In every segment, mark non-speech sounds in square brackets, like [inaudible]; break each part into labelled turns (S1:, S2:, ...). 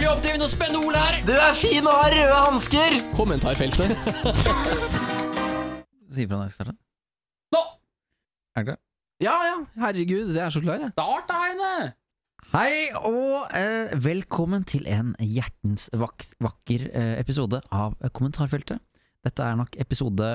S1: vi oppdrive noe spennende ord her?
S2: Du er fin og har røde hansker! [laughs]
S1: Kommentarfeltet.
S3: Si fra når jeg skal starte.
S1: Nå!
S3: Er dere klare?
S2: Ja, ja. Herregud, jeg er så klar, jeg.
S1: Start, da, Heine!
S3: Hei og eh, velkommen til en hjertens vak vakker eh, episode av Kommentarfeltet. Dette er nok episode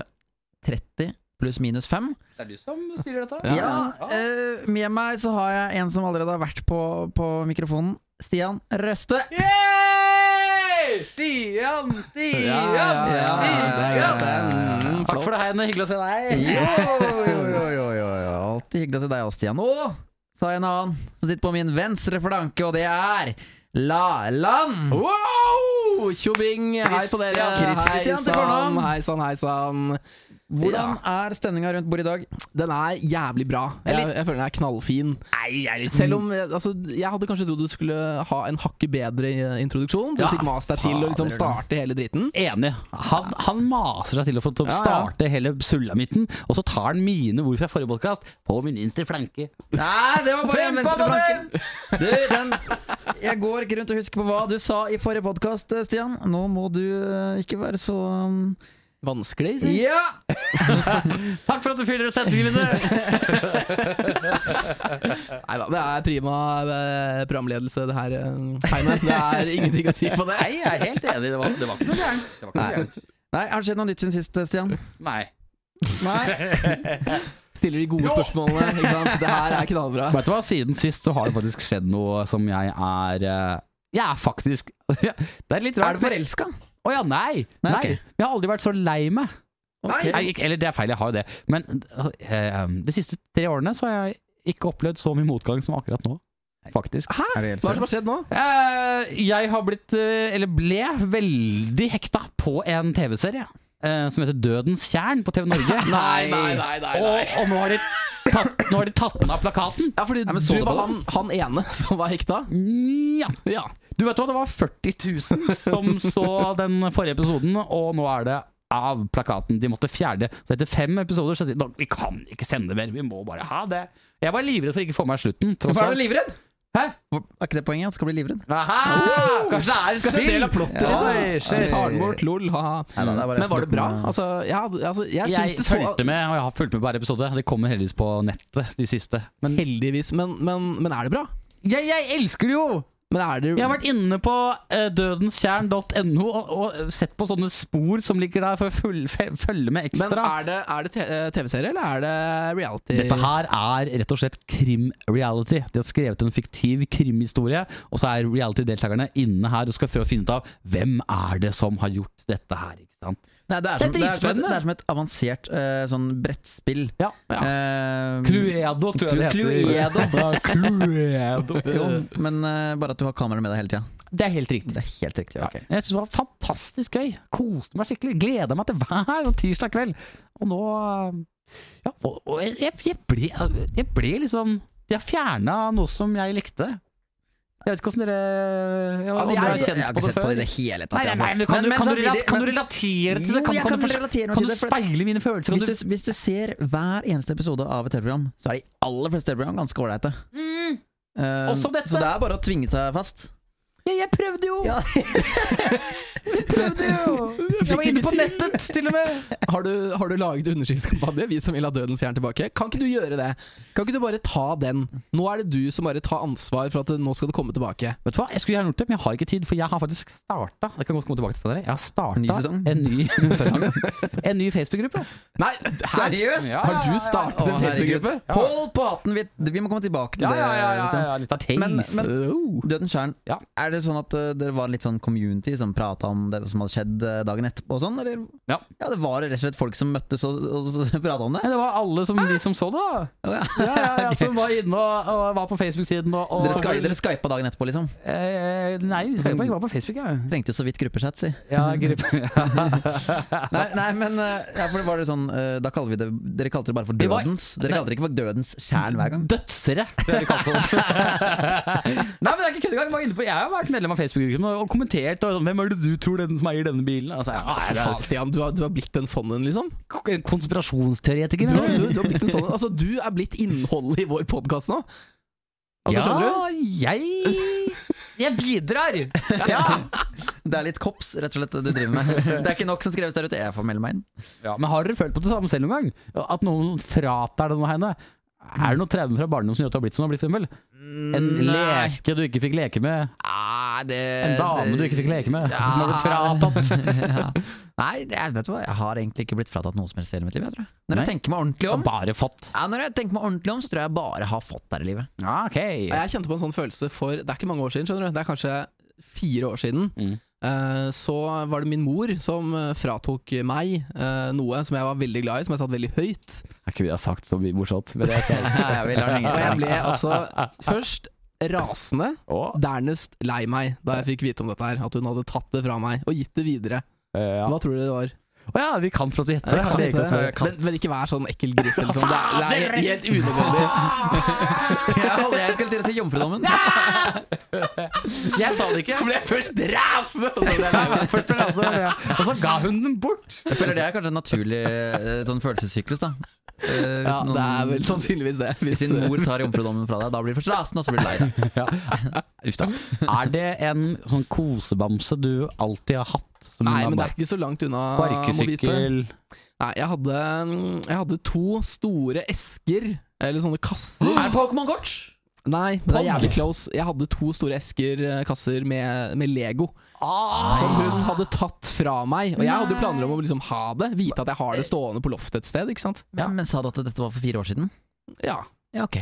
S3: 30 pluss minus 5.
S1: Det er du som styrer dette?
S3: Ja, eh, Med meg så har jeg en som allerede har vært på, på mikrofonen. Stian Røste.
S1: Yay! Stian, Stian,
S2: ja, ja, ja, ja, ja, ja, ja.
S1: Takk for det, Heine. Hyggelig å se deg.
S3: Alltid hyggelig å se deg også, Stian. Og så har jeg en annen som sitter på min venstre flanke, og det er La-Land.
S2: Wow! Tjobing! Hei på dere.
S3: Christian til fornavn.
S2: hei sann, hei sann.
S3: Hvordan er stemninga rundt bordet i dag?
S2: Den er jævlig bra. Jeg,
S3: Eller-
S2: jeg føler den er knallfin. Selv om eh, altså, Jeg hadde kanskje trodd du skulle ha en hakket bedre eh, introduksjon. Du
S1: Ja,
S2: fikk mast deg til å liksom starte hele dritten.
S1: Enig. Han, han maser seg til å få til å
S2: Ja, ja.
S1: starte hele sulamitten, og så tar han mine ord fra forrige podkast på min innstre flanke.
S3: Nei, det var bare en
S1: Frempa
S3: venstre
S1: med
S3: flanke. [laughs] Du, den, jeg går ikke rundt og husker på hva du sa i forrige podkast, Stian. Nå må du eh, ikke være så um,
S2: Vanskelig, si.
S3: Ja!
S1: Takk for at du fyller ut [laughs] setningene!
S2: Nei da, det er prima eh, programledelse, det her, eh, Heine. Det er ingenting å si på det.
S1: Nei, jeg er helt enig. Det var, det var ikke noe gærent. Det var ikke noe gærent.
S3: Nei, Har det skjedd noe nytt siden sist, eh, Stian?
S1: Nei.
S3: Nei?
S2: Stiller de gode spørsmålene. Ikke sant? Det her er knallbra.
S1: Vet du hva, siden sist så har det faktisk skjedd noe som jeg er eh, Jeg er faktisk [laughs] Det er litt
S3: Er
S1: rart.
S3: du forelska?
S1: Å ja, nei!
S3: Nei,
S1: nei.
S3: ok.
S1: Jeg har aldri vært så lei meg.
S2: Nei.
S1: Nei, ikke, eller det er feil, jeg har jo det. Men eh, um, de siste tre årene så har jeg ikke opplevd så mye motgang som akkurat nå. Faktisk.
S3: Er det helt
S2: Hva er det som har skjedd nå?
S1: Eh, jeg har blitt, eh, eller ble, veldig hekta på en TV-serie eh, som heter Dødens tjern på TV [laughs] Norge.
S2: Nei, nei, nei, nei, nei.
S1: Og, og nå har de tatt, nå har de tatt den av plakaten.
S2: Ja, fordi
S3: Nei, men så
S2: du
S3: du
S2: var
S3: på
S2: han, han ene [laughs] som var hekta.
S1: Ja. Du vet hva, det var 40 000 som så den forrige episoden, og nå er det av plakaten. De måtte fjerne. Så etter fem episoder så sier de "Nå, vi kan ikke sende mer, vi må bare ha det. Jeg var livredd for ikke å få med meg slutten, tross
S3: Hvorfor er du
S1: alt.
S3: livredd?
S1: Hæ?
S3: Hvor- Mm. Er ikke det poenget? At du skal bli livredd?
S1: Aha! Kanskje det er et
S2: Kanskje en del av plottet,
S1: Ja,
S2: liksom.
S1: oi,
S2: Vi
S1: shit.
S2: tar den bort, lol, haha.
S3: Nei, nei, det er bare
S2: Men var det bra?
S3: snakk om-
S2: Altså, jeg, hadde- altså, jeg,
S1: Jeg
S2: syns det så
S1: fulgte med, og jeg har fulgt med på hver episode. Det kommer heldigvis på nettet, de siste.
S2: men, Heldigvis. Men, men, men er det bra?
S1: Jeg, jeg elsker det jo!
S2: Men er det
S1: Jeg har vært inne på eh, dødenstjern.no og, og sett på sånne spor som ligger der for å følge, fe- følge med
S2: men
S1: ekstra.
S2: er det, er det te- eh, TV-serie, eller er det reality?
S1: Dette her er rett og slett krim-reality. De har skrevet en fiktiv krimhistorie, og så er reality-deltakerne inne her og skal prøve å finne ut av hvem er det som har gjort dette her. ikke sant?
S3: Nei, det er,
S1: Det er
S3: som, det, er som et,
S1: dritspennende.
S3: det er som et avansert eh, sånn brettspill.
S1: Ja, ja.
S3: Eh,
S1: Cluedo, tror jeg det heter. Cluedo.
S3: [laughs] jo, men eh, bare at du har kamera med deg hele tida.
S1: Det er helt riktig.
S3: Det er helt riktig. ok.
S1: Jeg synes det var fantastisk gøy. Koste meg skikkelig. Gleda meg til hver [laughs] tirsdag kveld. Og nå eh, Ja, og, og jeg, jeg- jeg, ble, jeg ble liksom De har fjerna noe som jeg likte. Jeg vet ikke åssen dere jeg,
S2: Altså,
S1: om dere har
S2: jeg-
S1: kjent
S3: har
S1: på
S3: ikke
S1: det
S3: sett på det
S1: før?
S3: i det hele tatt.
S1: Nei, nei,
S3: altså.
S1: nei, men kan,
S3: Men-
S1: du,
S3: men
S1: kan, du,
S3: samtidig-
S1: rela- kan du relatere til det?
S3: Jo,
S1: Kan,
S3: jeg
S1: kan,
S3: kan
S1: du, forstå-
S3: relatere meg
S1: kan
S3: til
S1: du
S3: det, for-
S1: speile mine følelser? Kan
S3: Hvis
S1: du,
S3: du, hvis du ser hver eneste episode av et TV-program, så er de aller fleste TV-program ganske ålreite. Eh,
S1: Også dette.
S3: Så det er bare å tvinge seg fast.
S1: jeg, jeg prøvde jo! [laughs]
S3: Ja.
S1: prøvde
S3: [laughs]
S1: jo. Jeg var inne på nettet, til og med.
S2: Har du, har du laget underskriftskampanje, vi som vil ha Dødens jern tilbake? Kan ikke du gjøre det? Kan ikke du bare ta den? Nå er det du som bare tar ansvar for at det- nå skal det komme tilbake.
S1: Vet du hva, Jeg skulle gjerne gjort det, men jeg har ikke tid, for jeg har faktisk starta Jeg kan godt komme tilbake til det der. Jeg har starta
S3: Ny sesong?
S1: en [laughs] ny, sesong. En ny Facebook-gruppe.
S2: Nei, øh, hæ?
S3: Seriøst?
S1: Ja,
S2: Har du startet
S3: Å,
S2: en
S3: herregud.
S2: Facebook-gruppe?
S3: Hold på hatten! Vi, vi må komme tilbake til
S1: Ja, ja, ja,
S3: det.
S1: ja,
S3: Stian.
S1: ja, litt av
S3: Men-
S1: teis.
S3: men-
S2: Oh.
S3: Døden Kjern,
S1: Ja.
S3: er det sånn at eh, dere var litt sånn community som prata om det som hadde skjedd eh, dagen etterpå og sånn? Eller?
S1: Ja.
S3: ja, det var rett og slett folk som møttes og, og [laughs] prata om det?
S1: Nei, det var alle som, vi som så det, da.
S3: Ja, ja.
S1: Ja, ja, [laughs] ja, som var inne og, og var på Facebook-siden. Og, og,
S3: Dere, sky, dere skypa dagen etterpå, liksom?
S1: Eh, nei, vi skal ikke var på Facebook, ja.
S3: Trengte jo så vidt gruppechat, si.
S1: ja gruppe.
S3: Nei, nei men eh, ja, for det var det sånn eh, Da kaller vi det Dere kalte det bare for
S1: Det var-
S3: Dødens. Dere kalte det ikke for Dødens kjern hver gang.
S1: [laughs] Dødsere, det har de kalt oss. [laughs] Nei, men det er ikke kødd engang. Jeg var inne på- Jeg har vært medlem av Facebook-gruppen og og kommentert. Og, sånn, Hvem er det du tror den som eier denne bilen? Altså, ja,
S2: Nei,
S1: er det
S2: faen, Stian, du har, du har blitt en sånn en, liksom?
S1: en konspirasjonsteoretiker?
S2: Du, har- du, du har blitt en sånn en. Altså, du er blitt innholdet i vår podkast nå. Altså,
S1: ja,
S2: skjønner du?
S1: jeg [laughs] Jeg bidrar! [laughs] Ja.
S3: [laughs] Det er litt kops, rett og slett, du driver med. Det er ikke nok som skreves der ute. Jeg får melde meg inn.
S1: ja, Men har dere følt på det samme selv noen gang? At noen fratar deg noe, Heine? Er det noe traume fra barndommen som gjør at du har blitt som du har blitt svimmel? En
S2: Nei.
S1: leke du ikke fikk leke med?
S3: Ah,
S2: Nei, det
S1: En dame du ikke fikk leke med? Som har blitt fratatt?
S3: [laughs] ja. Nei, jeg vet du hva, jeg har egentlig ikke blitt fratatt noe som helst i hele mitt liv. Jeg tror. Når jeg
S1: Nei.
S3: tenker meg ordentlig
S1: Og
S3: om,
S1: bare fått.
S3: ja, når jeg tenker meg ordentlig om, så tror jeg jeg bare har fått der i livet.
S1: [laughs] Ja, ok.
S2: Ja, Jeg kjente på en sånn følelse for Det er ikke mange år siden, skjønner du. Det er kanskje fire år siden.
S1: Mm.
S2: Eh, så var det min mor som eh, fratok meg eh, noe som jeg var veldig glad i, som jeg satt veldig høyt.
S1: Jeg kunne ha sagt så mye morsomt, men det skal jeg
S3: [laughs] Jeg vil ha
S2: Og
S3: den lenger.
S2: jeg ble altså først rasende,
S1: Å,
S2: dernest lei meg da jeg fikk vite om dette her. At hun hadde tatt det fra meg og gitt det videre.
S1: eh, ja.
S2: Hva tror du det var?
S1: Å ja, vi kan få lov til å gjette.
S2: Jeg kan
S1: Det er
S2: ikke
S1: ikke [laughs]
S2: det.
S1: så-
S2: Men, men ikke vær sånn ekkel gris, liksom. Det er, det er helt unødvendig.
S3: Jeg, holdt- jeg skulle til å si jomfrudommen.
S1: Jeg sa det ikke.
S2: Så ble jeg først rasende! Og så ble jeg
S1: [laughs]
S2: lei meg.
S1: For- for altså, ja. Og så ga hun den bort!
S3: Jeg føler det er kanskje en naturlig eh, sånn følelsessyklus, da. Eh, hvis
S2: Ja, det er
S3: noen-
S2: vel sannsynligvis det.
S3: Hvis
S2: Hvis,
S3: din mor tar jomfrudommen fra deg, da blir du først rasende, og så blir du lei
S2: [gasps]
S3: deg.
S1: Uff da. [laughs] Er det en sånn kosebamse du alltid har hatt? Som
S2: nei,
S1: har
S2: men det
S1: bare-
S2: er ikke så langt unna. Mojito.
S1: Sparkesykkel
S2: Nei, jeg hadde, mm, jeg hadde to store esker, eller sånne kasser.
S3: Er det Pokémon Gort?
S2: Nei, det er
S1: Pong.
S2: jævlig close. Jeg hadde to store esker, eh, kasser, med, med Lego. Ah, Som
S3: Ah.
S2: hun hadde tatt fra meg. Og jeg hadde jo planer om å liksom ha det. Vite at jeg har det stående på loftet et sted. ikke sant?
S3: Ja, men sa du at dette var for fire år siden?
S2: Ja,
S3: Ja, ok.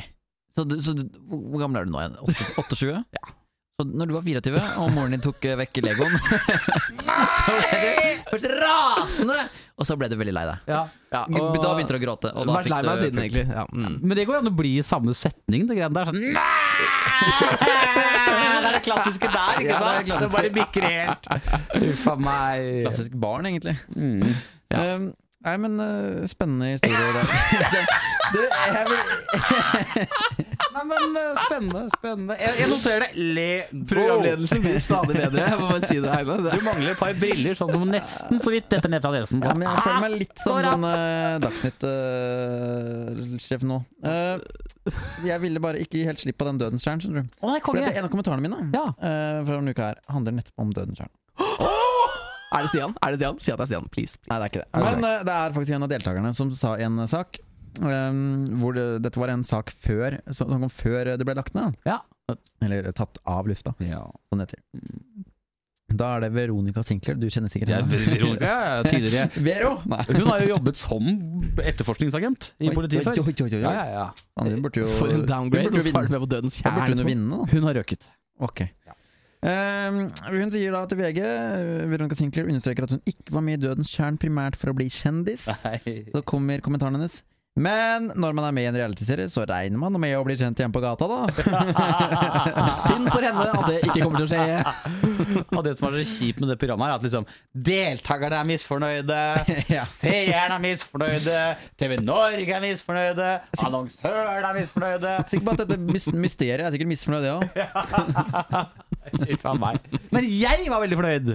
S3: Så, du, så du, hvor hvor gammel er du nå igjen? 28?
S2: [laughs] Ja.
S3: Så når du var 24, og moren din tok eh, vekk Legoen, [laughs] så ble du først rasende, og så ble du veldig lei deg.
S1: ja.
S2: ja og
S3: Da begynte du å gråte. Og da
S2: Vært
S3: fikk
S2: lei meg
S3: du-
S2: siden, egentlig. Ja, mm.
S1: Men det går jo an å bli i samme setning, det greiene der. Sånn, Nei! [laughs] Det er det klassiske der, ikke
S3: Ja, det er
S1: sant?
S3: det
S1: Det,
S3: klassiske.
S1: bare bikker helt. Uff a meg.
S3: Klassisk barn, egentlig.
S1: Mm.
S3: [laughs] Um,
S2: Ehm,
S3: nei, men eh, spennende historie. Der. du, jeg vil
S1: Nei, men eh, spennende, spennende. Jeg, jeg noterer det. Lego.
S2: Programledelsen blir stadig bedre. [laughs] Jeg må bare si det, Heine. Det-
S1: Du mangler et par briller, sånn som nesten så vidt detter ned fra nesen.
S3: Ja, men jeg føler meg litt som sånn, eh,
S1: Akkurat.
S3: den Dagsnytt-sjefen nå. Eh, jeg ville bare ikke gi helt slipp på den Dødenstjernen, skjønner du.
S1: Å nei,
S3: For
S1: konge.
S3: det er en av kommentarene mine
S1: Ja.
S3: eh, fra denne uka her handler nettopp om Dødenstjernen.
S2: Er det Stian? Er det Stian? Si at det er Stian, please. please.
S3: Nei, det er ikke det. Men eh, det er faktisk en av deltakerne som sa en eh, sak. eh, hvor det, Dette var en sak før som, som kom før det ble lagt ned.
S1: Ja.
S3: Eller tatt av lufta, som det heter. Da er det Veronica Sinclair. Du kjenner sikkert
S1: Jeg, Veronica, tidligere
S3: Vero! Nei.
S1: Hun har jo jobbet som etterforskningsagent i politiet før.
S3: Oi, oi, oi, oi, oi.
S1: Ja, ja, ja.
S3: Faen, Hun burde jo
S2: For en downgrade.
S3: Hun
S2: Og
S3: burde jo
S2: så er
S3: vinne.
S2: du med på Dødens
S3: Da burde hun jo
S2: kjerne.
S3: vinne, da.
S1: Hun har røket.
S3: Ok. Ehm, hun sier da til VG eh, Veronica Sinclair understreker at hun ikke var med i Dødens kjern primært for å bli [laughs] kjendis. Så kommer kommentaren hennes. Men når man er med i en realityserie, så regner man med å bli kjent igjen på gata, [laughs] da.
S2: Synd for henne at det ikke kommer til å skje.
S3: [laughs]
S1: Og det som er så kjipt med det programmet, her er at liksom, deltakerne er misfornøyde,
S3: Ja.
S1: seerne er misfornøyde, TV Norge er misfornøyde, annonsøren er misfornøyde.
S3: Sikker på at dette mys- mysteriet er sikkert misfornøyd, det òg.
S1: Uff a meg. Men jeg var veldig fornøyd!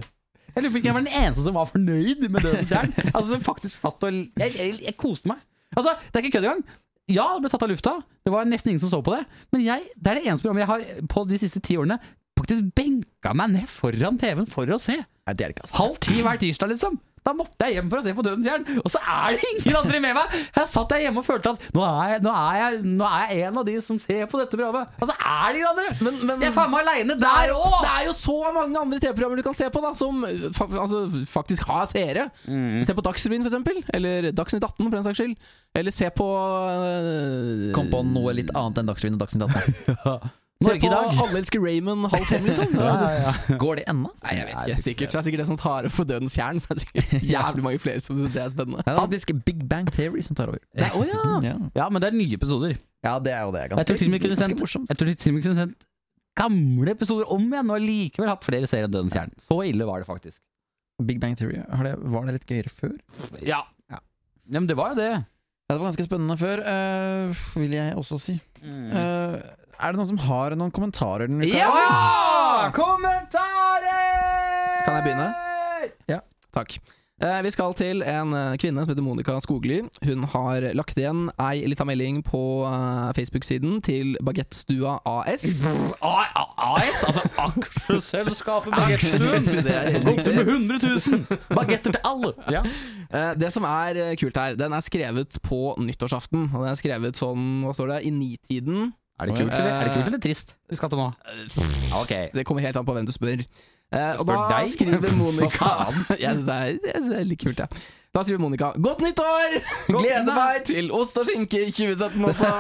S1: Jeg lurer på om ikke jeg var den eneste som var fornøyd med Dødens Jern. Altså, som faktisk satt og Jeg, jeg, jeg koste meg. Altså, det er ikke kødd engang. Ja, det ble tatt av lufta. Det var nesten ingen som så på det. Men jeg, det er det eneste programmet jeg har på de siste ti årene faktisk benka meg ned foran TV-en for å se.
S3: Nei, det er det ikke, altså.
S1: Halv ti hver tirsdag, liksom. Da måtte jeg hjem for å se på Dødens Jern, og så er det ingen andre med meg! Her satt jeg hjemme og følte at nå er jeg, nå er jeg, nå er jeg en av de som ser på dette programmet, og så er det ingen andre!
S2: Men, men
S1: Jeg er faen meg aleine
S2: det er,
S1: der òg!
S2: det er jo så mange andre TV-programmer du kan se på, da som fa altså, faktisk har seere.
S3: Mm.
S2: Se på Dagsrevyen, for eksempel. Eller Dagsnytt 18, for den saks skyld. Eller se på øh,
S3: Kom på noe litt annet enn Dagsrevyen og Dagsnytt [laughs] 18.
S2: Se
S1: Norge i
S2: på
S1: dag.
S2: Alle elsker Raymond halv fem, [laughs] liksom.
S3: [laughs] Går det ennå?
S2: Nei, jeg vet ikke. Sikkert, det er sikkert det som tar opp for Dødens kjern. Det er [laughs] sikkert jævlig mange flere som syns det er spennende.
S3: Det er faktisk Big Bang Theory som tar over.
S1: Å ja.
S3: Ja.
S1: ja, men det er nye episoder.
S3: ja, det er jo det.
S1: Jeg
S3: Ganske,
S1: tror til og med de kunne
S3: ganske
S1: sendt,
S3: morsomt.
S1: jeg tror de til og med kunne sendt gamle episoder om igjen, og likevel hatt flere serier enn Dødens Jern. Så ille var det faktisk.
S3: Big Bang Theory, har det, var det litt gøyere før?
S1: Ja. ja. Men det var jo det.
S3: Ja, det var ganske spennende før, eh, vil jeg også si.
S2: Mm.
S1: Mm.
S3: Eh, er det noen som har noen kommentarer? denne uka?
S1: Ja! Kommentarer!
S2: Kan jeg begynne?
S3: Ja.
S2: Takk. Eh, Vi skal til en eh, kvinne som heter Monica Skogli. Hun har lagt igjen ei lita melding på eh, Facebook-siden til Bagettstua
S1: [laughs]
S2: AS.
S1: AS, altså aksjeselskapet
S3: Ah,
S1: Bagettstuen.
S2: Det er helt
S1: Gått
S2: riktig.
S1: med 100 000 bagetter til alle! Ja.
S2: Eh, Det som er eh, kult her, den er skrevet på nyttårsaften. Og den er skrevet sånn, hva står det, i nitiden.
S1: Er, det kult, eller, er det kult eller trist? Eh, Vi skal til nå. Ok.
S2: Det kommer helt an på hvem du spør. Eh, og
S1: spør
S2: da
S1: deg.
S2: skriver Monica
S1: [laughs] Hva
S2: [laughs] jeg synes det, er, jeg synes det er litt kult, ja. Da skriver Monica 'Godt nyttår! Gleder meg til ost og skinke i 2017
S1: [laughs]
S2: også'.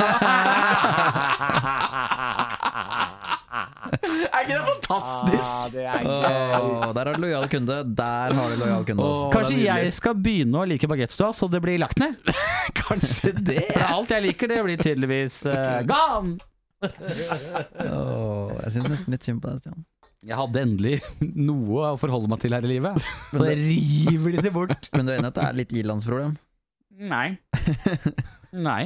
S2: er ikke det fantastisk?
S1: Ah, det er
S3: Åh, der har du lojal kunde. Der har du lojal kunde.
S2: Åh,
S3: Altså.
S2: det er
S1: Kanskje
S2: nydelig.
S1: jeg skal begynne å like bagettstua, så det blir lagt ned?
S2: Kanskje det.
S1: For alt jeg liker, det blir tydeligvis eh, gone!
S3: Åh, jeg syns nesten litt synd på deg, Stian.
S1: Jeg hadde endelig noe å forholde meg til her i livet, og det river de det bort.
S3: Men du er enig i at det er litt ilandsproblem?
S1: [laughs] Nei. Nei.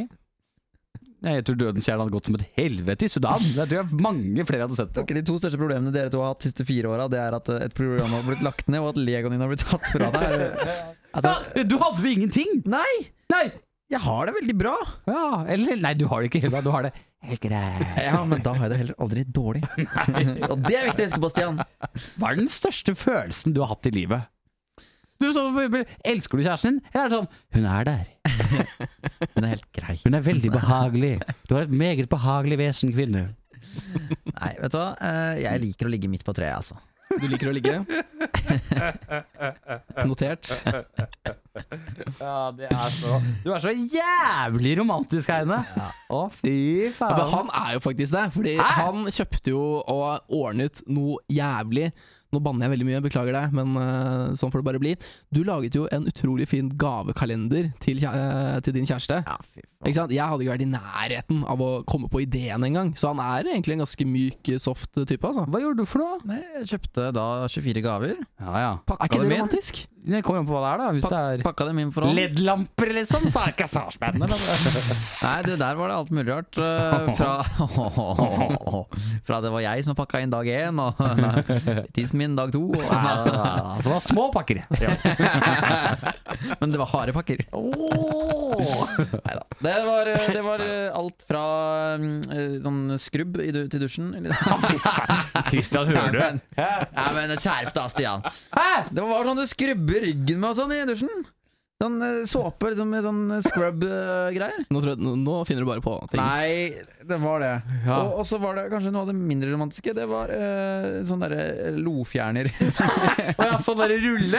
S1: Jeg tror dødens kjerne hadde gått som et helvete i Sudan. Jeg tror jeg mange flere hadde sett det.
S3: Ok, De to største problemene dere to har hatt de siste fire åra, det er at eh, et program har blitt lagt ned, og at legoen din har blitt tatt fra deg. Er det- Altså,
S1: Ja, du hadde jo ingenting!
S3: nei!
S1: Nei!
S3: Jeg har det veldig bra!
S1: Ja, eller nei, du har det ikke helt bra. Du har det helt greit.
S3: Ja, Men da har jeg det heller aldri
S2: [laughs]
S3: dårlig. Og det er viktig å huske på, Stian.
S1: Hva er den største følelsen du har hatt i livet? Du så, for eksempel, Elsker du kjæresten din? Jeg er sånn Hun er der.
S3: Hun er helt grei.
S1: Hun er veldig behagelig. Du har et meget behagelig vesen, kvinne.
S3: Nei, vet du hva? Eh, Jeg liker å ligge midt på treet, altså.
S2: Du liker å
S1: [laughs]
S2: ligge? Notert.
S1: Ja, det er så Du er så jævlig romantisk, Heine. Å, fy
S2: Ja, men
S1: faen.
S2: han er jo faktisk det, fordi han kjøpte jo og ordnet noe jævlig. Nå banner jeg veldig mye, beklager deg, men eh, sånn får det bare bli. Du laget jo en utrolig fin gavekalender til, kjæ- eh, til din kjæreste.
S3: Ja, fy faen.
S2: Ikke sant? Jeg hadde ikke vært i nærheten av å komme på ideen engang, så han er egentlig en ganske myk, soft type. altså.
S1: Hva gjorde du for noe?
S3: Nei, jeg kjøpte da 24 gaver.
S1: Ja, ja.
S2: Er ikke
S3: dem
S2: det
S3: inn?
S2: romantisk?
S1: Det kommer an på hva det er, da. Hvis det er
S3: Pakka dem inn for hånd.
S1: LED-lamper, liksom, så er det ikke så [laughs] spennende.
S3: Nei, du, der var det alt mulig rart. eh, Fra, [laughs] fra det var jeg som pakka inn dag én, og [laughs] tissen min dag to. Og,
S1: Ja, ja, ja. Så det var små pakker. [laughs] Ja.
S3: [laughs] men det var harde pakker. Neida. Det var, eh, det var eh, alt fra mm, eh, sånn skrubb i du til dusjen eller-
S1: Christian,
S3: Nei,
S1: hører
S3: men, nei, men skjerp deg, da, Stian. Det var sånn du skrubber ryggen med og sånn i dusjen. Sånn eh, såpe, liksom, med sånn scrub-greier.
S2: Nå, tror jeg, nå- nå finner du bare på ting.
S3: Nei, det var det.
S1: Ja.
S3: Og, og så var det kanskje noe av det mindre romantiske. Det var eh, sånn derre lofjerner. [laughs]
S1: Å ja, sånn derre rulle?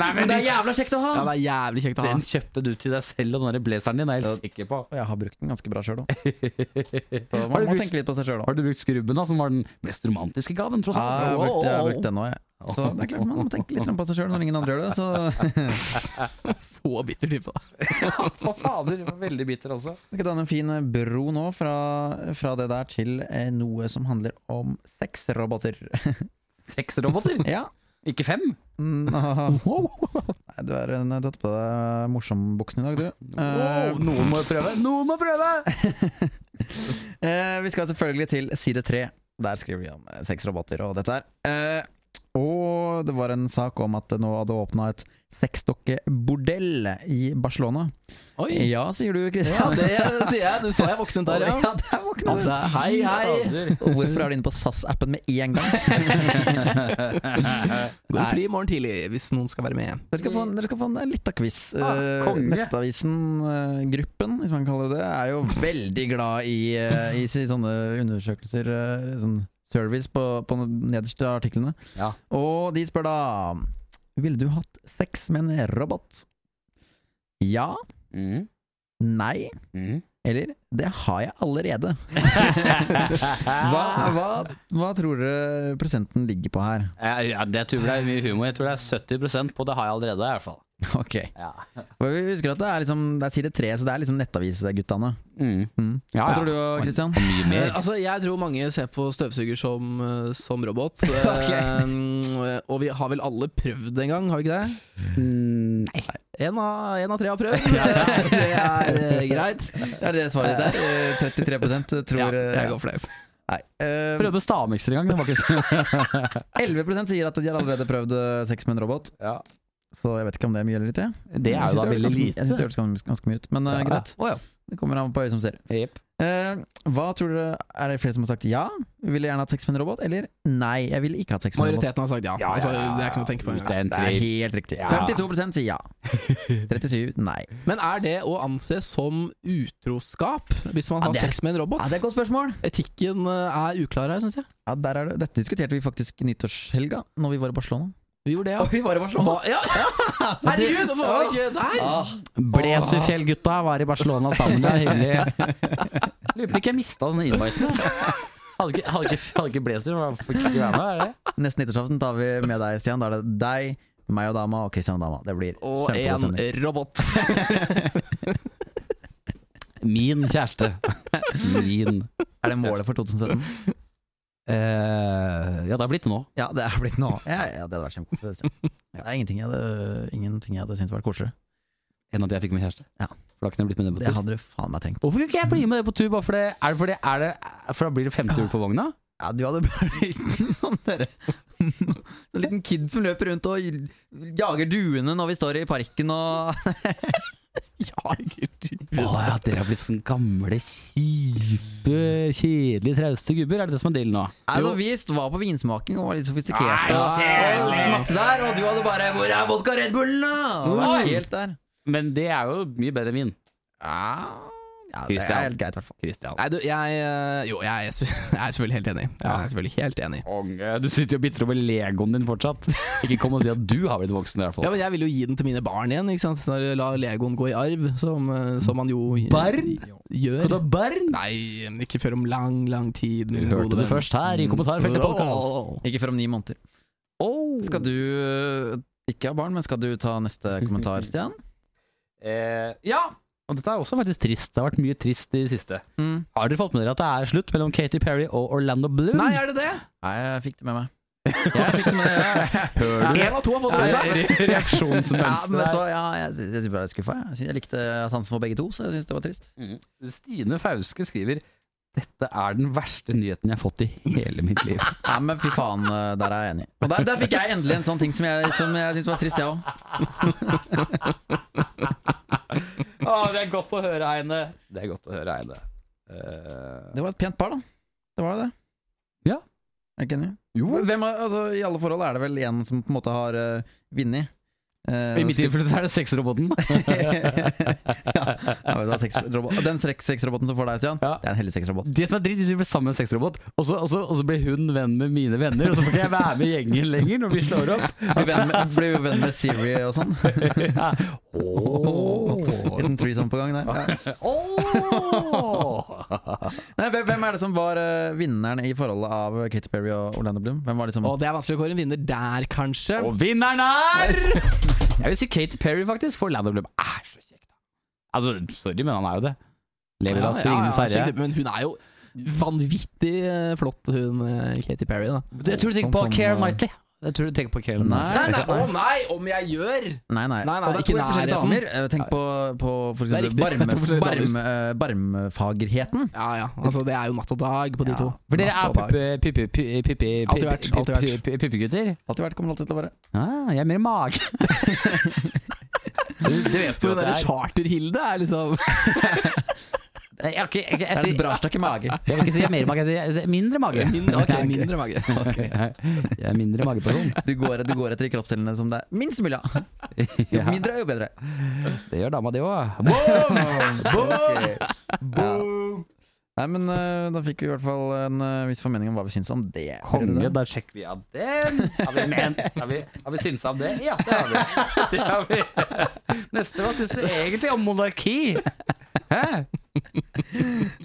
S1: Nei, men de-
S3: kjekt å ha!
S2: Ja, det er jævlig kjekt å ha.
S1: Den kjøpte du til deg selv, og den der blazeren din er jeg helt sikker på.
S3: Og jeg har brukt den ganske bra sjøl òg. Så
S1: Har
S3: man
S1: du
S3: må
S1: brukt-
S3: tenke litt på seg sjøl òg.
S1: Har du brukt skrubben, da, som var den mest romantiske gaven, tross
S3: Ja,
S1: alt?
S3: jeg har brukt, jeg har
S1: Å,
S3: brukt
S1: å, å.
S3: den òg, jeg. Så det er klart man må tenke litt på seg sjøl når ingen andre gjør det.
S1: [laughs]
S3: Så
S2: [laughs] Så bitter type. da.
S1: Hva fader, jeg var veldig bitter også.
S3: Vi skal danne en fin eh, bro nå fra, fra det der til eh, noe som handler om sexroboter.
S1: Seks roboter,
S3: ja.
S1: ikke fem?
S3: Mm, [laughs] ah. Nei, du er en, du har tatt på deg morsombuksen i dag, du. Eh,
S1: Wow, noen må jo prøve. Noen må prøve!
S3: Eh, vi skal selvfølgelig til side tre. Der skriver vi om eh, seks roboter og dette her. Eh, og det var en sak om at det nå hadde åpna et sexdokkebordell i Barcelona.
S2: Oi!
S3: Ja, sier du,
S2: Ja,
S3: Christian.
S2: det sier jeg. Du sa jeg våknet der, ja.
S3: [laughs] ja, der
S2: Ja,
S3: våkna du.
S2: det er hei, hei.
S3: Og Hvorfor er du inne på SAS-appen med en gang?
S2: Gå i fly i morgen tidlig hvis noen skal være med.
S3: Dere skal få en, dere skal få en lita quiz.
S1: Mm. Ah,
S3: Eh,
S1: konge.
S3: Nettavisen-gruppen, hvis man kan kalle det det, er jo veldig glad i, eh, i si- sånne undersøkelser, eh, sånn service på, på nederste artiklene.
S1: Ja.
S3: Og de spør da Ville du hatt sex med en robot? Ja,
S1: Mm,
S3: nei
S1: mm.
S3: eller det har jeg allerede.
S1: [laughs]
S3: Hva, hva, hva tror dere prosenten ligger på her? [laughs]
S1: Jeg, jeg, jeg tror Eh, det er mye humor. Jeg tror det er 70 på 'det har jeg allerede'. i hvert fall
S3: Ok,
S1: ja.
S3: For Vi husker at det er, liksom, det er side tre, så det er liksom nettavisguttene.
S1: Mm.
S3: Mm.
S1: Ja,
S3: Hva
S1: ja.
S3: tror du, Christian?
S1: Og mye
S2: Eh,
S1: mer.
S2: altså, jeg tror mange ser på støvsuger som, eh, som [laughs] robot. Eh, og vi har vel alle prøvd en gang, har vi ikke det?
S1: Nei.
S2: En av, en av tre har [laughs] prøvd. Eh, Det er eh, greit.
S3: Er det det svaret der? Eh, 33 tror
S2: Ja, jeg
S3: eh,
S2: går for det.
S3: Nei. eh,
S1: Prøvde stavmikser en gang. Det var ikke så
S3: 11 sier at de har allerede prøvd eh, sex med en robot.
S1: ja.
S3: så jeg vet ikke om det er mye eller ikke.
S1: Det er jo da veldig lite.
S3: Jeg syns det hørtes ganske, ganske mye ut, men eh, greit.
S1: Å ja.
S3: Det kommer an på øyet som ser.
S1: Jepp.
S3: Eh, hva tror dere, Er det flere som har sagt ja? Ville gjerne hatt sex med en robot? Eller nei, jeg ville ikke hatt sex med en robot.
S2: Majoriteten har sagt ja.
S1: Ja, ja,
S2: Altså,
S1: ja, ja.
S2: det er ikke noe å tenke på engang.
S1: Det er en
S3: Det er
S1: tvil.
S3: helt riktig.
S1: Ja.
S3: 52 sier
S1: [laughs]
S3: ja. 37 nei.
S2: Men er det å anse som utroskap hvis man
S3: Ja,
S2: har
S3: det er-
S2: sex med en robot?
S3: Ja, det er et godt spørsmål.
S2: Etikken eh, er uklar her, syns jeg.
S3: Ja, der er det. Dette diskuterte vi faktisk nyttårshelga, når vi var i Barcelona.
S2: Vi gjorde det, ja.
S3: vi var i
S2: Hva? ja. Herregud, hvorfor var det ikke der?
S1: Blazerfjell-gutta var i Barcelona sammen, det er [laughs] hyggelig. Lurer på om ikke jeg mista den inviten. Hadde ikke, hadde ikke, hadde ikke Blazer hva- fikk ikke være med, er det?
S3: Neste nyttårsaften tar vi med deg, Stian. Da er det deg, meg og dama og Christian og dama. Det blir
S2: Og en
S3: kjempegod stemning.
S2: robot.
S1: Min kjæreste. Min.
S3: Er det målet for 2017?
S1: Eh, ja, det har blitt det nå.
S3: Ja, det er blitt noe. Ja, ja, det hadde vært kjempekoselig. Stian. Det er ingenting jeg hadde, ingenting jeg hadde syntes var koseligere.
S1: Enn at jeg fikk med kjæreste.
S3: Ja.
S1: For da kunne jeg blitt med ned på
S3: Det
S1: tur.
S3: hadde du faen meg trengt.
S1: Hvorfor kunne ikke jeg bli med det på tur? Bare for, det, er det for, det, er det, for da blir det femte hjul på vogna?
S3: Ja, du hadde [laughs] blitt sånn dere En liten kid som løper rundt og jager duene når vi står i parken og [laughs]
S1: Å ja, dere har blitt sånn gamle, kjipe, kjedelige, trauste gubber. Er det det som er dealen nå?
S3: Altså, vi var på vinsmaking og var litt
S1: Nei,
S3: sofistikerte. Og
S1: kjedelig!
S3: smakte der, og du hadde bare 'Hvor er vodka Red Bullen', da?! Og var
S1: Oi!
S3: Helt der.
S1: Men det er jo mye bedre enn vin.
S3: Ah, Ja, det
S1: Christian.
S3: er helt greit, i hvert fall.
S1: Christian.
S2: Nei, du, jeg eh, Jo, jeg er, s- [laughs] jeg er selvfølgelig helt enig. Jeg er selvfølgelig helt enig.
S1: Konge. Du sitter jo og bitter over legoen din fortsatt. Ikke kom og si at du har blitt voksen, i hvert
S2: Ja,
S1: fall.
S2: men Jeg vil jo gi den til mine barn igjen. ikke sant? Når jeg La Legoen gå i arv, som, eh, som man jo
S1: Barn?
S2: gjør.
S1: du ha barn?
S2: Nei, men ikke før om lang, lang tid. min gode
S1: Hørte det
S2: venn.
S1: først her i kommentarfeltet podcast.
S2: Åh.
S3: Ikke før om ni måneder. Skal du øh, ikke ha barn, men skal du ta neste kommentar, Stian?
S1: Eh, ja. Og dette er også faktisk trist. Det har vært mye trist i det siste.
S3: Mm.
S1: Har dere fått med dere at det er slutt mellom Katy Perry og Orlando Bloom?
S2: Nei, er det det?
S3: Nei, jeg fikk det med [laughs] meg. Jeg fikk det med meg.
S1: Hører du?
S2: En av to har fått det med seg.
S3: Ja, men vet
S1: Reaksjonsmønsteret
S3: du hva, ja, jeg, sy- jeg, synes bare jeg er skuffa. Jeg. Jeg, synes, jeg likte at han som var begge to, så jeg syns det var trist.
S1: Mm. Stine Fauske skriver Dette er den verste nyheten jeg har fått i hele mitt liv.
S3: Ja, men fy faen, øh, der er jeg enig. Og der, der fikk jeg endelig en sånn ting som jeg, som jeg syntes var trist, jeg òg.
S1: det er godt [laughs] å høre, Eine. Det er godt å høre, Eine. Eh,
S3: Det var et pent par, da. Det var jo det.
S1: Ja.
S3: Er du ikke enig?
S1: jo,
S3: Hvem har, altså, I alle forhold er det vel en som på en måte har uh, vunnet. Eh,
S1: i mitt tilfelle så er det sexroboten.
S3: ja, ja, men det er sexrobot- Den sek- sexroboten som får deg, Stian,
S1: Ja.
S3: det er en heldig sexrobot.
S1: Det som er dritt, hvis vi blir sammen med en sexrobot, og så, og, så, og så blir hun venn med mine venner, og så får ikke jeg være med i gjengen lenger når vi slår opp.
S3: Blir venn med- blir jo venn med Siri og sånn.
S1: Ja. Åh.
S3: Liten threesome på gang der. Ja.
S1: Åh.
S3: Nei, hvem- hvem er det som var eh, vinneren i forholdet av Katy Perry og Orlando Bloom? Hvem var liksom
S2: Og det er vanskelig å kåre en vinner der, kanskje.
S1: Og vinneren er Jeg vil si Katy Perry, faktisk, for Land of Bloom er så kjekk, da. Altså, sorry, men han er jo det. Lever av sin egen
S2: så
S1: herre.
S2: ikke- Men hun er jo vanvittig eh, flott, hun eh, Katy Perry, da.
S1: Jeg tror du tenker på
S3: Sånn som,
S1: Keira
S3: eh,
S1: Knightley. Jeg tror du tenker på Keira Knightley.
S3: Nei, nei,
S2: å nei, om jeg gjør!
S3: Nei, nei,
S2: Nei, nei,
S3: Og det er
S2: ikke
S3: to helt forskjellige
S2: nærheten.
S3: damer. Eh, Tenk på, på for
S2: Det er
S3: eksempel
S2: riktig, det er to
S3: barme,
S2: forskjellige
S3: barm, eh, barmfagerheten.
S2: Ja ja, altså det er jo natt og dag på de
S3: Ja.
S2: to.
S1: For dere
S3: Natt og dag.
S1: er
S2: Alltid vært, alltid vært.
S1: puppegutter?
S3: Alltid vært, kommer alltid til å være.
S1: Ah, jeg er mer mage. du, du vet
S2: Så
S1: jo
S2: den
S1: at det
S2: derre
S1: er
S2: charterhilde er liksom
S1: Nei, Jeg, har ikke- jeg, jeg,
S3: Det
S1: jeg,
S3: er et
S1: sier-
S3: brastakk i mage.
S1: jeg vil ikke si jeg er mer mage, jeg sier- jeg sier mindre mage. [laughs]
S2: mindre, ok,
S1: Ja, ok.
S2: mindre mage.
S1: Jeg er mindre mageperson.
S3: Du går, du går etter de kroppsdelene som det er minst mulig av. Jo
S1: Ja,
S3: mindre, jo bedre.
S1: det gjør dama, det òg.
S3: [laughs] Ok. Ja. Nei, men eh, da fikk vi i hvert fall en eh, viss formening om hva vi syns om det.
S1: Konge, da sjekker vi av den. Har vi, men, har vi, har vi synsa om det? Ja, det har vi. Det har vi. Neste, hva syns du egentlig om monarki? Hæ?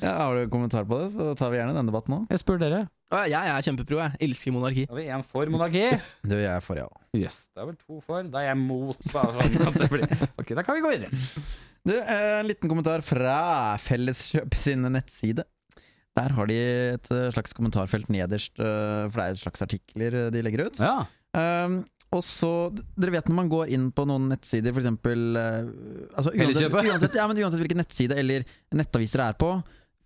S3: Ja, har du en kommentar på det, så tar vi gjerne den debatten òg.
S1: Jeg spør dere.
S2: [laughs] Å, Jeg er kjempepro, jeg. Elsker monarki.
S1: Har vi én for monarki?
S3: Du, jeg er for, ja.
S1: Jøss, det er vel to for. Da [laughs] er jeg mot. Bare sånn at det blir. Ok, da kan vi gå videre.
S3: Du, eh, en liten kommentar fra Felleskjøp sin nettside. Der har de et eh, slags kommentarfelt nederst, eh, for det er et slags artikler eh, de legger ut.
S1: Ja.
S3: Um, og så, d- Dere vet når man går inn på noen nettsider, f.eks. Uh, altså, uansett,
S1: Felleskjøpet.
S3: [laughs] uansett, ja, men uansett hvilken nettside eller nettaviser dere er på,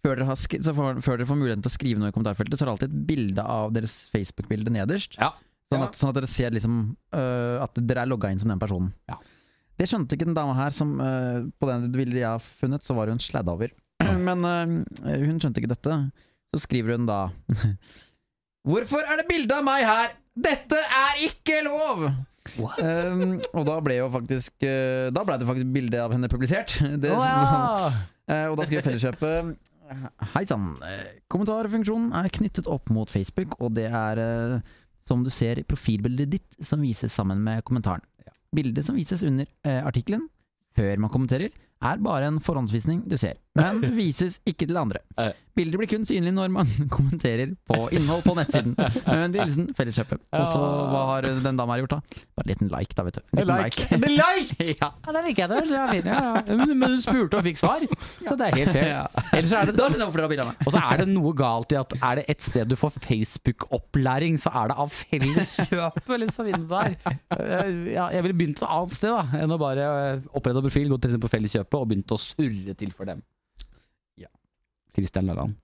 S3: før dere, har skri så får, før dere får muligheten til å skrive noe i kommentarfeltet, så er det alltid et bilde av deres Facebook-bilde nederst.
S1: Ja.
S3: Sånn
S2: Ja.
S3: at, sånn at dere ser liksom øh, at dere er logga inn som den personen.
S1: Ja.
S3: Det skjønte ikke den dama her. Som, øh, på den bildet jeg har funnet, så var hun sladda over.
S1: Ja.
S3: [clears throat] Men øh, hun skjønte ikke dette. Så skriver hun da [laughs] Hvorfor er det bilde av meg her? Dette er ikke lov!
S1: What?
S3: Ehm, og da ble jo faktisk øh, Da ble det faktisk bilde av henne publisert. [laughs] Det,
S1: Å, ja.
S3: Eh, og da skriver Felleskjøpet Hei sann. eh, Kommentarfunksjonen er knyttet opp mot Facebook, og det er eh, som du ser profilbildet ditt som vises sammen med kommentaren. Bildet som vises under eh, artikkelen, før man kommenterer, er bare en forhåndsvisning du ser,
S1: [laughs]
S3: men vises ikke til andre.
S1: Eh.
S3: Bildet blir kun synlig når man [laughs] kommenterer på innhold på nettsiden. Med vennlig hilsen Felleskjøpet. Og så hva har den dama her gjort, da? Bare en liten like, da, vet du. Liten
S1: Like. [laughs] En like!
S3: like. [laughs] ja.
S1: Ja, der liker jeg det. det er fint, ja, ja. Men, men du spurte og fikk svar, så det er helt fair. Ellers er det
S3: Da skjønner jeg hvorfor det var bilde av meg.
S1: Og så er det noe galt i at er det et sted du får Facebook-opplæring, så er det av felleskjøpet, liksom, inni der. Eh, Ja, jeg ville begynt et annet sted da, enn å bare eh, opprette en profil, gått inn på felleskjøpet og begynt å surre til for dem.
S3: Ja.
S1: Kristian Lalland.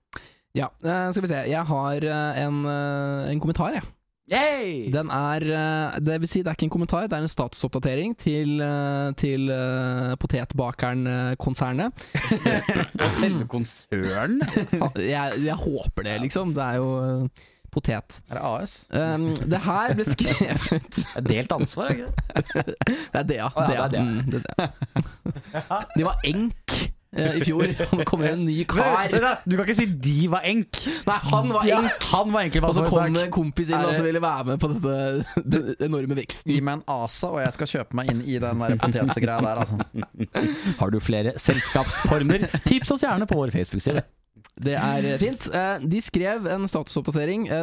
S2: Ja, eh, skal vi se. Jeg har eh, en, eh, en kommentar, jeg.
S1: Yay!
S2: Den er eh, Det vil si, det er ikke en kommentar, det er en statusoppdatering til, eh, til eh,
S1: [laughs]
S2: potetbakeren-konsernet.
S1: Og selve konsern.
S2: Jeg, jeg håper det, liksom. Det er jo eh, potet.
S3: Er det AS?
S2: Um, det her ble skrevet [laughs]
S1: Delt ansvar, er det ikke det?
S2: Det er Dea.
S1: Å, ja, det
S2: Dea.
S1: er Dea.
S2: Mm, det er Dea. [laughs] De var enk eh, i
S1: [laughs]
S2: fjor, og nå kommer det en ny kar.
S1: Du kan ikke si de var enk.
S2: Nei, han var enk!
S1: Han var enkel.
S2: Og så kom det
S1: det
S2: en kompis inn
S3: Er
S2: og
S3: det-
S2: så ville være med på dette, [laughs] den enorme veksten.
S3: Gi meg en ASA, og jeg skal kjøpe meg inn i den der potetgreia der, altså.
S1: Har du flere [laughs] selskapsformer, tips oss gjerne på vår Facebook-side.
S2: Det er eh, fint. Eh, De skrev en statusoppdatering eh,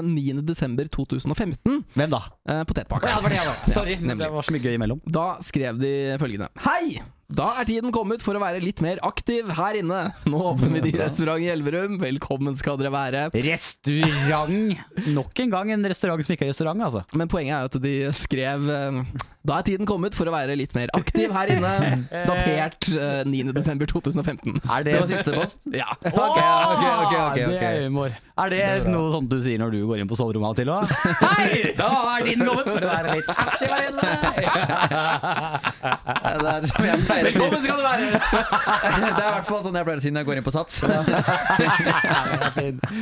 S2: 9.12.2015.
S1: Hvem da?
S2: eh,
S1: Ja, det var
S2: Potetpakker.
S1: det, ja, da. Sorry, men
S2: nemlig.
S1: det var så mye gøy imellom.
S2: Da skrev de følgende. Hei! Da er tiden kommet for å være litt mer aktiv her inne. Nå
S1: [laughs]
S2: åpner vi de restaurant i Elverum. Velkommen skal dere være.
S1: Restaurant! Nok en gang en restaurant som ikke er restaurant, altså.
S2: Men poenget er at de skrev eh, Da er tiden kommet for å være litt mer aktiv her inne.
S1: [laughs]
S2: Datert eh, 9. desember 2015
S1: Er det,
S3: Det var
S1: [laughs]
S3: siste post.
S2: Ja.
S3: ok, ok, ok, ok,
S1: Det er
S3: ok.
S1: humor. Er det, noe sånt du sier når du går inn på soverommet av og til òg? [laughs] Hei! Da er din kommet for å være litt aktiv her inne!
S3: Nei, Det er som jeg pleier å si.
S2: Velkommen skal du være!
S3: [laughs] Det er i hvert fall sånn jeg pleier å si når jeg går inn på Sats.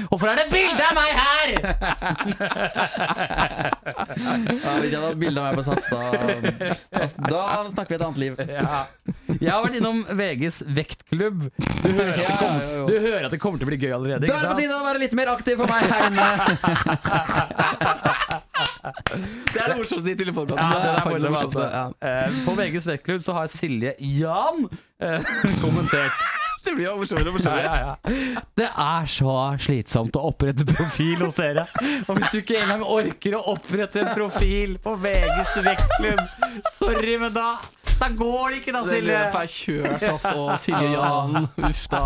S1: Hvorfor er det bilde av meg her?!
S3: Ja, hvis jeg hadde hatt bilde av meg på Sats, da Da snakker vi et annet liv.
S1: Jeg har vært innom VGs vektklubb. Du hører at det kommer, du hører at det kommer til å bli gøy allerede. Ikke
S3: Da er det på
S1: sant?
S3: tide å være litt mer aktiv for meg her inne.
S2: Det er det morsomste i telefonplassen.
S1: Ja, det er
S2: faktisk det
S1: morsomt, altså.
S2: morsomste, ja.
S1: Eh, På VGs vektklubb så har Silje Jan eh, [laughs] kommentert
S2: Det blir jo morsommere og morsommere.
S1: Det er så slitsomt å opprette profil hos dere. Og hvis du ikke engang orker å opprette en profil på VGs vektklubb, sorry, men da Da går det ikke, da,
S2: Det
S1: Silje.
S2: blir for kjørt, altså. Silje Jan, uff da.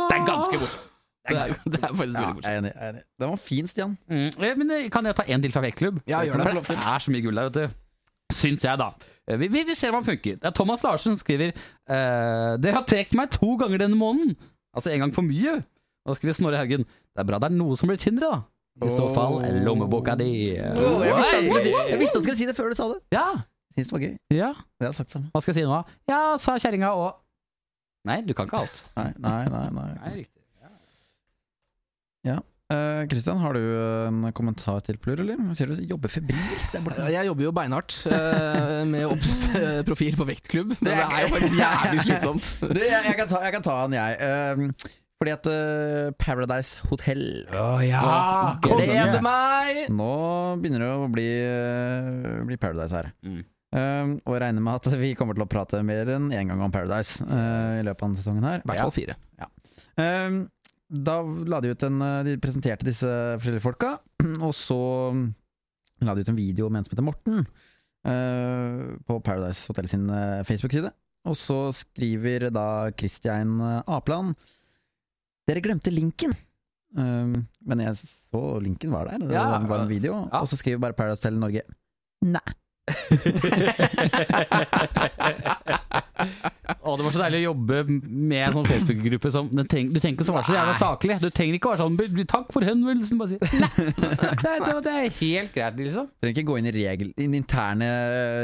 S1: Det er ganske morsomt.
S2: Det er, det er faktisk veldig morsomt.
S3: Jeg er enig. jeg er enig. Den var fin, Stian.
S1: Mm. eh, Men eh, kan jeg ta en til fra vektklubb?
S2: Ja, gjør det.
S1: For Det er så mye gull der, vet du. Syns jeg, da. Eh, Vi, vi, vi ser hva den funker. Det er Thomas Larsen som skriver eh, Dere har trukket meg to ganger denne måneden. Altså en gang for mye. Og da skriver Snorre Haugen Det er bra det er noe som blir tynnere, da. I så fall lommeboka di.
S3: Åh, jeg, visste han skulle si, jeg visste han skulle si det før du sa det.
S1: Ja,
S3: Jeg Syns det var gøy.
S1: ja.
S3: Det har jeg sagt sammen.
S1: Hva skal jeg si nå? Ja, sa kjerringa og Nei, du kan ikke alt.
S3: Nei, nei, nei. nei. Eh, Christian, har du en kommentar til Plur, eller? Ser du jobber febrilsk der borte.
S2: Jeg jobber jo beinhardt eh, med å opprette eh, profil på vektklubb. Men det er jo faktisk jævlig slitsomt.
S3: Du, jeg, jeg, kan ta, jeg kan ta en, jeg. Eh, fordi at eh, Paradise Hotel
S1: Å ja!
S3: Gleder
S2: Gleder meg!
S3: Nå begynner det å bli, eh, bli Paradise her.
S1: Mm.
S3: Um, og jeg regner med at vi kommer til å prate mer enn én gang om Paradise eh, i løpet av denne sesongen her.
S2: I hvert fall fire.
S3: Um, da la de ut en eh, De presenterte disse forskjellige folka, [clears throat] og så mm, la de ut en video med en som heter Morten, eh, på Paradise Hotel sin eh, Facebook-side. Og så skriver da Christian eh, Apland Dere glemte linken! Um, men jeg så linken var der, og det
S1: Ja,
S3: var en video.
S1: ja.
S3: Og så skriver bare Paradise Hotel Norge Nei.
S1: Å, det var så deilig å jobbe med en sånn Facebook-gruppe som den treng, Du trenger ikke å være så jævla saklig. Du trenger ikke å være sånn "Bu- bu- 'Takk for henvendelsen', bare si Nei, det, det, det er helt greit, liksom.
S3: Trenger ikke gå inn i regel, inn i interne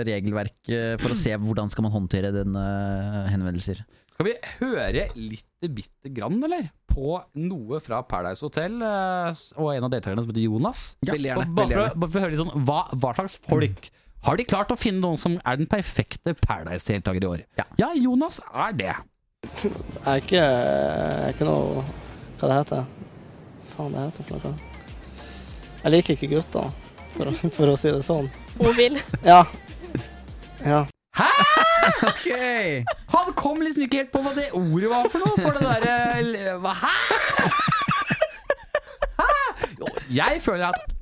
S3: regelverk eh, for å se hvordan skal man håndtere denne eh, henvendelser.
S1: Skal vi høre litt bitte grann, eller? På noe fra Paradise Hotel eh, s- og en av deltakerne som heter Jonas.
S3: Ja,
S2: veldig gjerne.
S1: Og
S2: Veldig
S1: Bare for,
S2: gjerne.
S1: å- bare for å høre litt sånn, hva, hva slags folk har de klart å finne noen som er den perfekte Paradise-deltaker i år? Ja. Jonas er det.
S4: Jeg er ikke, jeg er ikke noe Hva det heter Faen, det heter for noe. Jeg liker ikke gutter, for, å- for å si det sånn.
S5: Mobil.
S4: Ja. Ja.
S3: Okay.
S1: Han kom liksom ikke helt på hva det ordet var for noe, for det derre Hva? Hæ? Hæ? Jo, Jeg føler at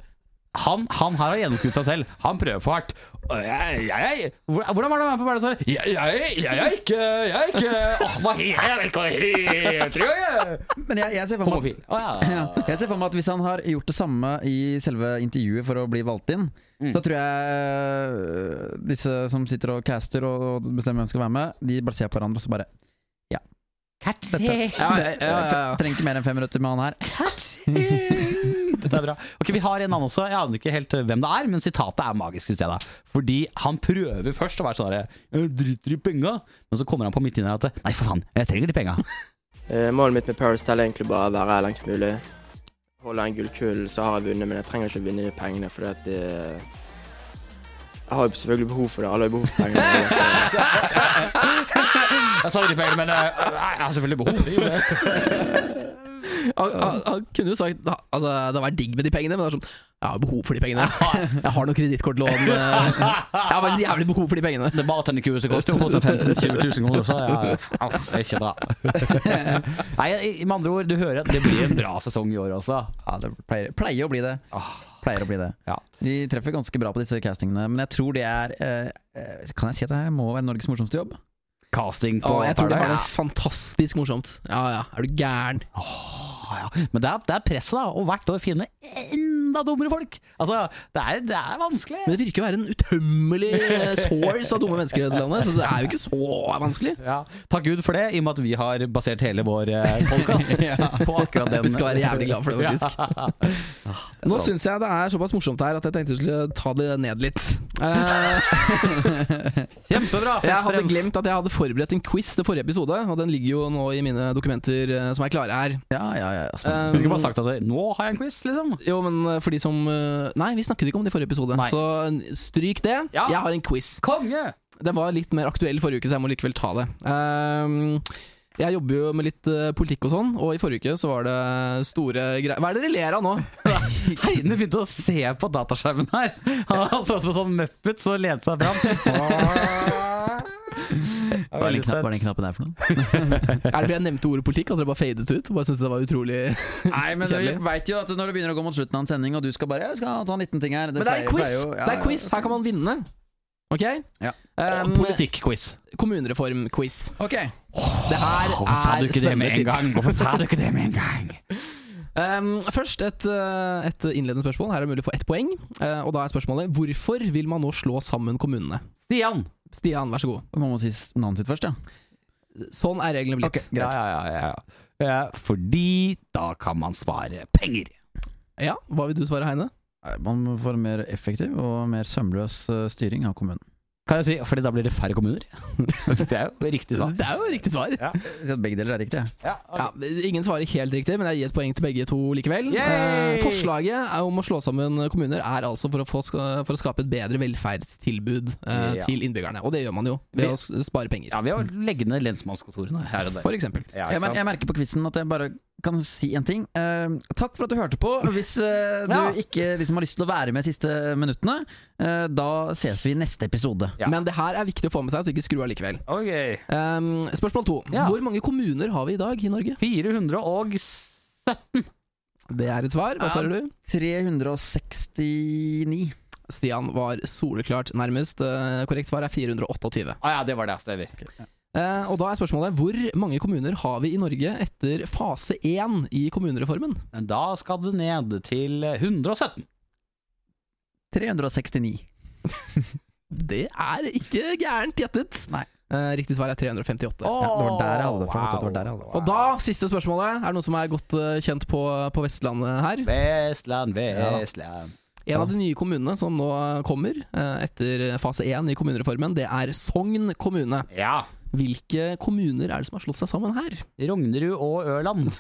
S1: han, han her har gjennomskudd seg selv. Han prøver for hardt. Og Jeg, jeg, jeg, hvor- hvordan var det å være med på Paradise? Hotel? Jeg, jeg, jeg er ikke Jeg er ikke Åh, hva heter jeg? Hva heter jeg?
S3: Men jeg, jeg ser for meg at
S1: Homofil. Å ja.
S3: ja. Jeg ser for meg at Hvis han har gjort det samme i selve intervjuet for å bli valgt inn,
S2: Mm.
S3: så tror jeg øh, disse som sitter og caster og og bestemmer hvem som skal være med, de bare ser på hverandre og så bare
S1: Catching.
S2: Ja, ja, ja, ja.
S3: Trenger ikke mer enn fem minutter med han her.
S1: Dette er bra. Ok, Vi har en annen også. Jeg aner ikke helt eh, hvem det er, men sitatet er magisk. Synes jeg da Fordi han prøver først å være sånn der, «Jeg driter i penga, men så kommer han på midt inni her at nei, for faen, jeg trenger de penga.
S6: Eh, Målet mitt med Paris Tell er egentlig bare å være lengst mulig. Holde en gullkull, så har jeg vunnet, men jeg trenger ikke å vinne de pengene, fordi at det Jeg har jo selvfølgelig behov for det. Alle har jo behov for penger. Så.
S1: Jeg trenger de pengene, men eh, jeg har selvfølgelig behov for det.
S2: Han, han, han kunne jo sagt da- altså, Det var digg med de pengene, men det er sånn Jeg har behov for de [laughs] pengene. Jeg har noen kredittkortlån. eh, Jeg har faktisk jævlig behov for de pengene.
S1: Det bartenderkurset koster jo fort 15 000-20 000 kroner, så ja, ja, det er ikke bra. [laughs] Nei, i- med andre ord, du hører at det blir en bra sesong i år også.
S3: Ja, det pleier, pleier å bli det.
S2: Ah.
S3: Pleier å bli det.
S1: Ja.
S3: De treffer ganske bra på disse castingene, men jeg tror det er eh, eh, Kan jeg si at det her må være Norges morsomste jobb?
S1: Casting på
S2: Og jeg tror det var
S1: Paradise.
S2: noe fantastisk morsomt. Ja ja, er du gæren?
S1: Ah, ja. Men det er, det er presset, da. Og hvert år finne enda dummere folk. Altså, det er, det er vanskelig.
S2: Men det virker å være en utømmelig
S1: [laughs]
S2: eh, source av dumme mennesker i dette landet, så det er jo ikke så vanskelig.
S1: Ja, takk Gud for det, i og med at vi har basert hele vår [laughs] podkast på akkurat den.
S3: [laughs]
S2: Vi skal være jævlig glad for
S1: [laughs]
S2: det, faktisk. Nå syns jeg det er såpass morsomt her at jeg tenkte jeg skulle ta det ned litt.
S1: [laughs]
S2: Eh,
S1: Kjempebra!
S2: Jeg hadde glemt at jeg hadde forberedt en quiz til forrige episode, og den ligger jo nå i mine dokumenter eh, som er klare her.
S3: Ja, ja, ja. ja.
S1: Du
S2: Eh,
S1: kunne ikke bare sagt at det- 'nå har jeg en quiz', liksom.
S2: jo, men eh, for de som eh, Nei, vi snakket ikke om det i forrige episode,
S1: Nei.
S2: så stryk det.
S1: Ja.
S2: Jeg har en quiz.
S1: Konge!
S2: Den var litt mer aktuell forrige uke, så jeg må likevel ta det. Ehm, jeg jobber jo med litt eh, politikk og sånn, og i forrige uke så var det store greier Hva er det dere ler av nå?
S1: Heine begynte å se på dataskjermen her. Han han så ut som en sånn muppet som lente seg [laughs] fram.
S3: Hva er den knapp- hva er den knappen
S2: [laughs]
S3: der for noe?
S2: Er det fordi jeg nevnte ordet politikk at dere bare fadet ut? Og bare syntes det var utrolig
S3: Nei, men
S2: Kjedelig.
S3: du veit jo at når det begynner å gå mot slutten av en sending, og du skal bare jeg skal ta en liten ting her
S2: Men det er en
S3: pleier-
S2: quiz!
S3: pleier jo- ja,
S2: Det er
S3: ja.
S2: en quiz. Her kan man vinne. Ok?
S3: Ja.
S1: Um,
S2: Ehm,
S1: Politikkquiz.
S2: Kommunereform-quiz.
S3: Ok.
S2: Det her
S1: Hvorfor sa du
S2: er
S1: ikke det
S2: spennende
S1: med en
S2: shit.
S1: gang? Hvorfor sa du ikke det med en gang?
S2: Ehm, først et, eh, et innledende spørsmål. Her er det mulig å få ett poeng. Eh, og da er spørsmålet hvorfor vil man nå slå sammen kommunene?
S1: Stian!
S2: Stian, vær så god.
S3: Man må si s- navnet sitt først, ja.
S2: Sånn er reglene blitt.
S1: Ja, ja, ja, ja, ja. Fordi da kan man spare penger.
S2: Ja, Hva vil du svare, Heine?
S3: Nei, Man får mer effektiv og mer sømløs eh, styring av kommunen.
S1: Kan jeg si, fordi da blir det færre kommuner? [laughs] det er jo riktig sagt.
S2: Det er jo riktig svar.
S3: Si at begge deler er riktig.
S1: Ja,
S2: Ja, ingen svarer helt riktig, men jeg gir et poeng til begge to likevel.
S1: Yay!
S2: Eh, forslaget er om å slå sammen kommuner er altså for å, få, ska- for å skape et bedre velferdstilbud eh,
S1: Ja.
S2: til innbyggerne. Og det gjør man jo ved
S1: Vi-
S2: å s- spare penger,
S1: Ja, ved å legge ned lensmannskontorene her og der.
S2: for eksempel.
S1: Ja,
S3: Jeg, men, jeg merker på quizen at jeg bare kan si en ting. Eh, takk for at du hørte på. Hvis eh,
S1: [laughs]
S3: du
S1: Ja.
S3: ikke liksom, har lyst til å være med de siste minuttene, eh, da ses vi i neste episode.
S1: Ja.
S2: Men det her er viktig å få med seg, så ikke skru av likevel.
S1: Ok.
S2: Ehm, spørsmål to.
S1: Ja.
S2: Hvor mange kommuner har vi i dag i Norge?
S1: 417.
S2: Det er et svar. Hva
S3: Ja.
S2: svarer du?
S3: 369.
S2: Stian var soleklart nærmest. Eh, korrekt svar er 428.
S1: Ah, ja, det var det. Stemmer.
S2: Eh, og da er spørsmålet hvor mange kommuner har vi i Norge etter fase én i kommunereformen?
S1: Da skal det ned til 117.
S3: 369.
S2: Det er ikke gærent gjettet.
S3: Nei.
S2: Eh, riktig svar er 358.
S3: Ja, det var der jeg hadde det fra. vet du, Det var der jeg hadde det fra.
S2: Og da, siste spørsmålet. Er det noen som er godt eh, kjent på, på Vestlandet her?
S1: Vestland,
S2: Ja.
S1: Vestland.
S2: En av de nye kommunene som nå kommer eh, etter fase én i kommunereformen, det er Sogn kommune.
S1: Ja.
S2: Hvilke kommuner er det som har slått seg sammen her?
S1: Rognerud og Ørland.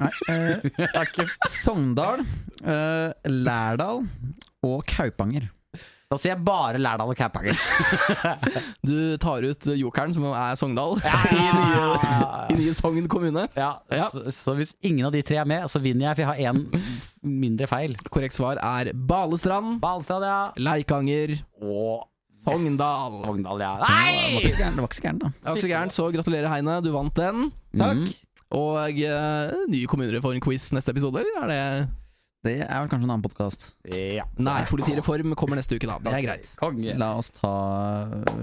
S3: Nei, eh, Sogndal, eh, Lærdal og Kaupanger.
S1: Da sier jeg bare Lærdal og Kaupanger.
S2: Du tar ut eh, jokeren, som er Sogndal, [laughs] i, nye,
S1: Ja.
S2: i nye Sogn kommune. Ja.
S1: Så, så hvis ingen av de tre er med, så vinner jeg, for jeg har [laughs] én mindre feil.
S2: Korrekt svar er Balestrand,
S1: Balstad, ja.
S2: Leikanger,
S1: Og
S2: Sogndal.
S1: Sogndal, ja.
S3: Det var
S1: Nei!
S3: ikke så gærent, det var ikke så gærent da.
S2: Det var ikke så gærent, så gratulerer, Heine. Du vant den.
S1: Takk.
S2: Og eh, ny kommunereform-quiz neste episode, eller er
S3: Det er vel kanskje en annen podkast.
S1: Ja.
S2: det Nærpolitireform kommer neste uke, da. Det er greit.
S1: Konge.
S3: La oss ta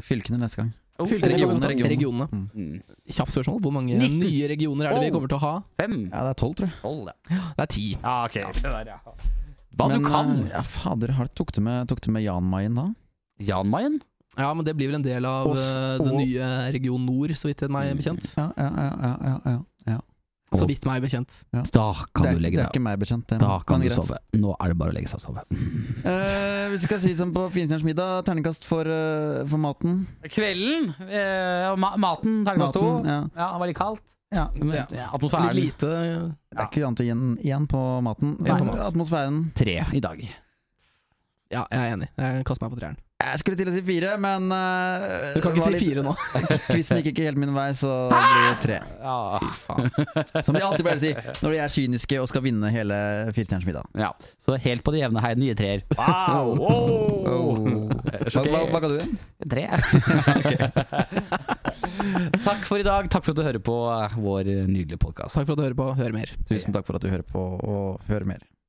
S3: fylkene neste gang.
S2: Fylte
S3: regionene,
S2: regionene.
S3: regionene.
S2: regionene.
S1: Mm.
S2: Kjapt spørsmål. Hvor mange
S1: Nitten.
S2: nye regioner er det vi
S1: Tolv.
S2: kommer til å ha?
S1: Fem,
S3: Ja, det er tolv, tror jeg.
S1: tolv, ja.
S2: Det er ti.
S1: Ja, ok. Det der, ja. Hva
S3: Men,
S1: du kan.
S3: eh, Ja, fader, har, tok du med, tok du med Jan Mayen da?
S1: Jan Mayen?
S2: Ja, men det blir vel en del av
S3: Og s-
S2: eh, den
S3: og-
S2: nye Region Nord, så vidt meg er bekjent.
S3: Ja, ja, ja, ja, ja, ja.
S2: Så vidt meg er bekjent.
S1: Da
S3: det, er- det er ikke meg bekjent. Det, men- men greit.
S1: Nå er det bare å legge seg og sove. Mm.
S3: Eh, hvis vi skal si som på Finsners middag, terningkast for, eh, for maten.
S1: Kvelden, eh, og ma maten, terningkast to.
S3: maten
S1: Ja.
S3: ja.
S1: det var litt kaldt.
S3: Ja.
S1: Men,
S2: Ja.
S1: ja,
S2: Litt
S1: atmosfæren
S2: lite eh,
S3: Det er ikke annet igjen, igjen på maten.
S2: Igjen på
S3: Nei,
S2: mat.
S3: Atmosfæren
S1: tre i dag.
S2: Ja, jeg er enig. Jeg kaster meg på treeren.
S3: Jeg skulle til å si fire, men eh,
S2: Du kan
S3: det
S2: ikke si
S3: var litt-
S2: fire nå.
S3: [laughs] Quizen gikk ikke helt min vei, så det blir tre.
S1: Ja.
S2: Fy faen.
S3: Som de alltid pleier å si når de er kyniske og skal vinne hele Firestjerners middag.
S1: ja. Så helt på det jevne her, nye treer. [laughs] Wow!
S3: Oh. Hva, hva, hva ga du igjen? [laughs]
S1: Tre. [laughs] takk for i dag. Takk for at du hører på vår nydelige podkast.
S2: Takk for at du hører på. Hør mer.
S3: Tusen takk for at du hører på og hører mer.